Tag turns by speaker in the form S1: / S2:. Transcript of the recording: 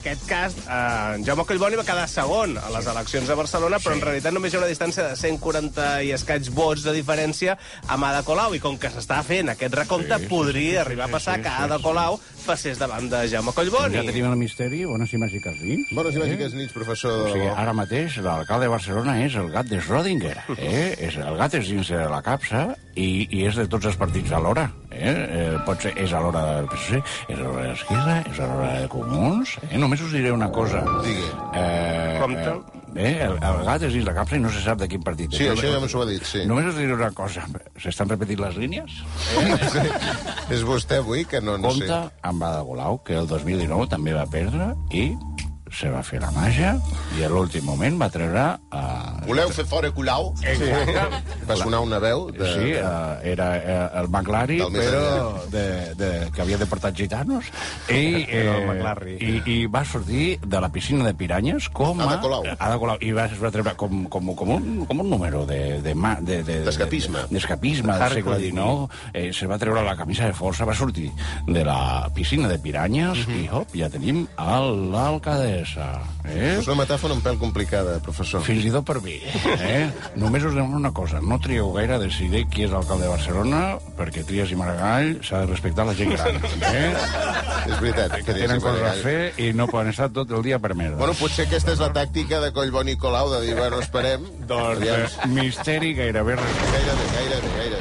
S1: aquest cas, eh, en Jaume Collboni va quedar segon a les eleccions de Barcelona, però en realitat només hi ha una distància de 140 i escaig vots de diferència a Ada Colau, i com que s'està fent aquest recompte, podria arribar a passar que Ada Colau passés davant de Jaume
S2: Ja
S1: Collboni.
S2: tenim el misteri, bones i màgiques dins.
S3: Bones i màgiques nits, professor.
S2: Eh? O sigui, ah, ara mateix l'alcalde de Barcelona és el gat de Schrödinger. Eh? És, el gat és dins de la capsa i, i és de tots els partits alhora. Eh? Eh, pot ser, és a l'hora del PSC, és a l'hora d'Esquerra, és a l'hora de Comuns... Eh? Només us diré una cosa.
S3: Digui.
S2: Eh,
S1: Compte.
S2: Eh, el, el gat és dins la capsa i no se sap de quin partit.
S3: Sí,
S2: és.
S3: això ja m'ho ha dit, sí.
S2: Només us diré una cosa. S'estan repetint les línies?
S3: Sí. És vostè avui que no, no
S2: Compte
S3: sé.
S2: amb Ada Golau, que el 2019 també va perdre i se va fer la màgia i a l'últim moment va treure... Uh,
S3: Voleu fer fora Colau? Sí. Va sonar una veu de...
S2: Sí, uh, era uh, el McLary,
S3: eh, Del més
S2: però de, de, que havia deportat gitanos. I, eh,
S1: Era el McLarry.
S2: i, I va sortir de la piscina de piranyes com a...
S3: Ada Colau.
S2: Ada Colau. I va, es va treure com, com, com, un, com un número de... de, ma- de, de
S3: D'escapisme.
S2: de- D'escapisme del
S1: Hardcore.
S2: segle XIX. Eh, se va treure la camisa de força, va sortir de la piscina de piranyes
S3: Mhm.
S2: i hop, ja tenim a l'alcaldessa. Eh?
S3: És una metàfora un pèl complicada, professor.
S2: Fins i tot per mi. Eh? Només us demano una cosa. No trieu gaire a decidir qui és l'alcalde de Barcelona, perquè Trias i Maragall s'ha de respectar la gent gran. Eh?
S3: És veritat. Que
S2: Tenen coses a fer i no poden estar tot el dia per merda.
S3: Bueno, potser aquesta és la tàctica de Collbon i Colau, de dir, bueno, esperem.
S2: doncs, eh, misteri gairebé res.
S3: Gairebé, gairebé, gairebé.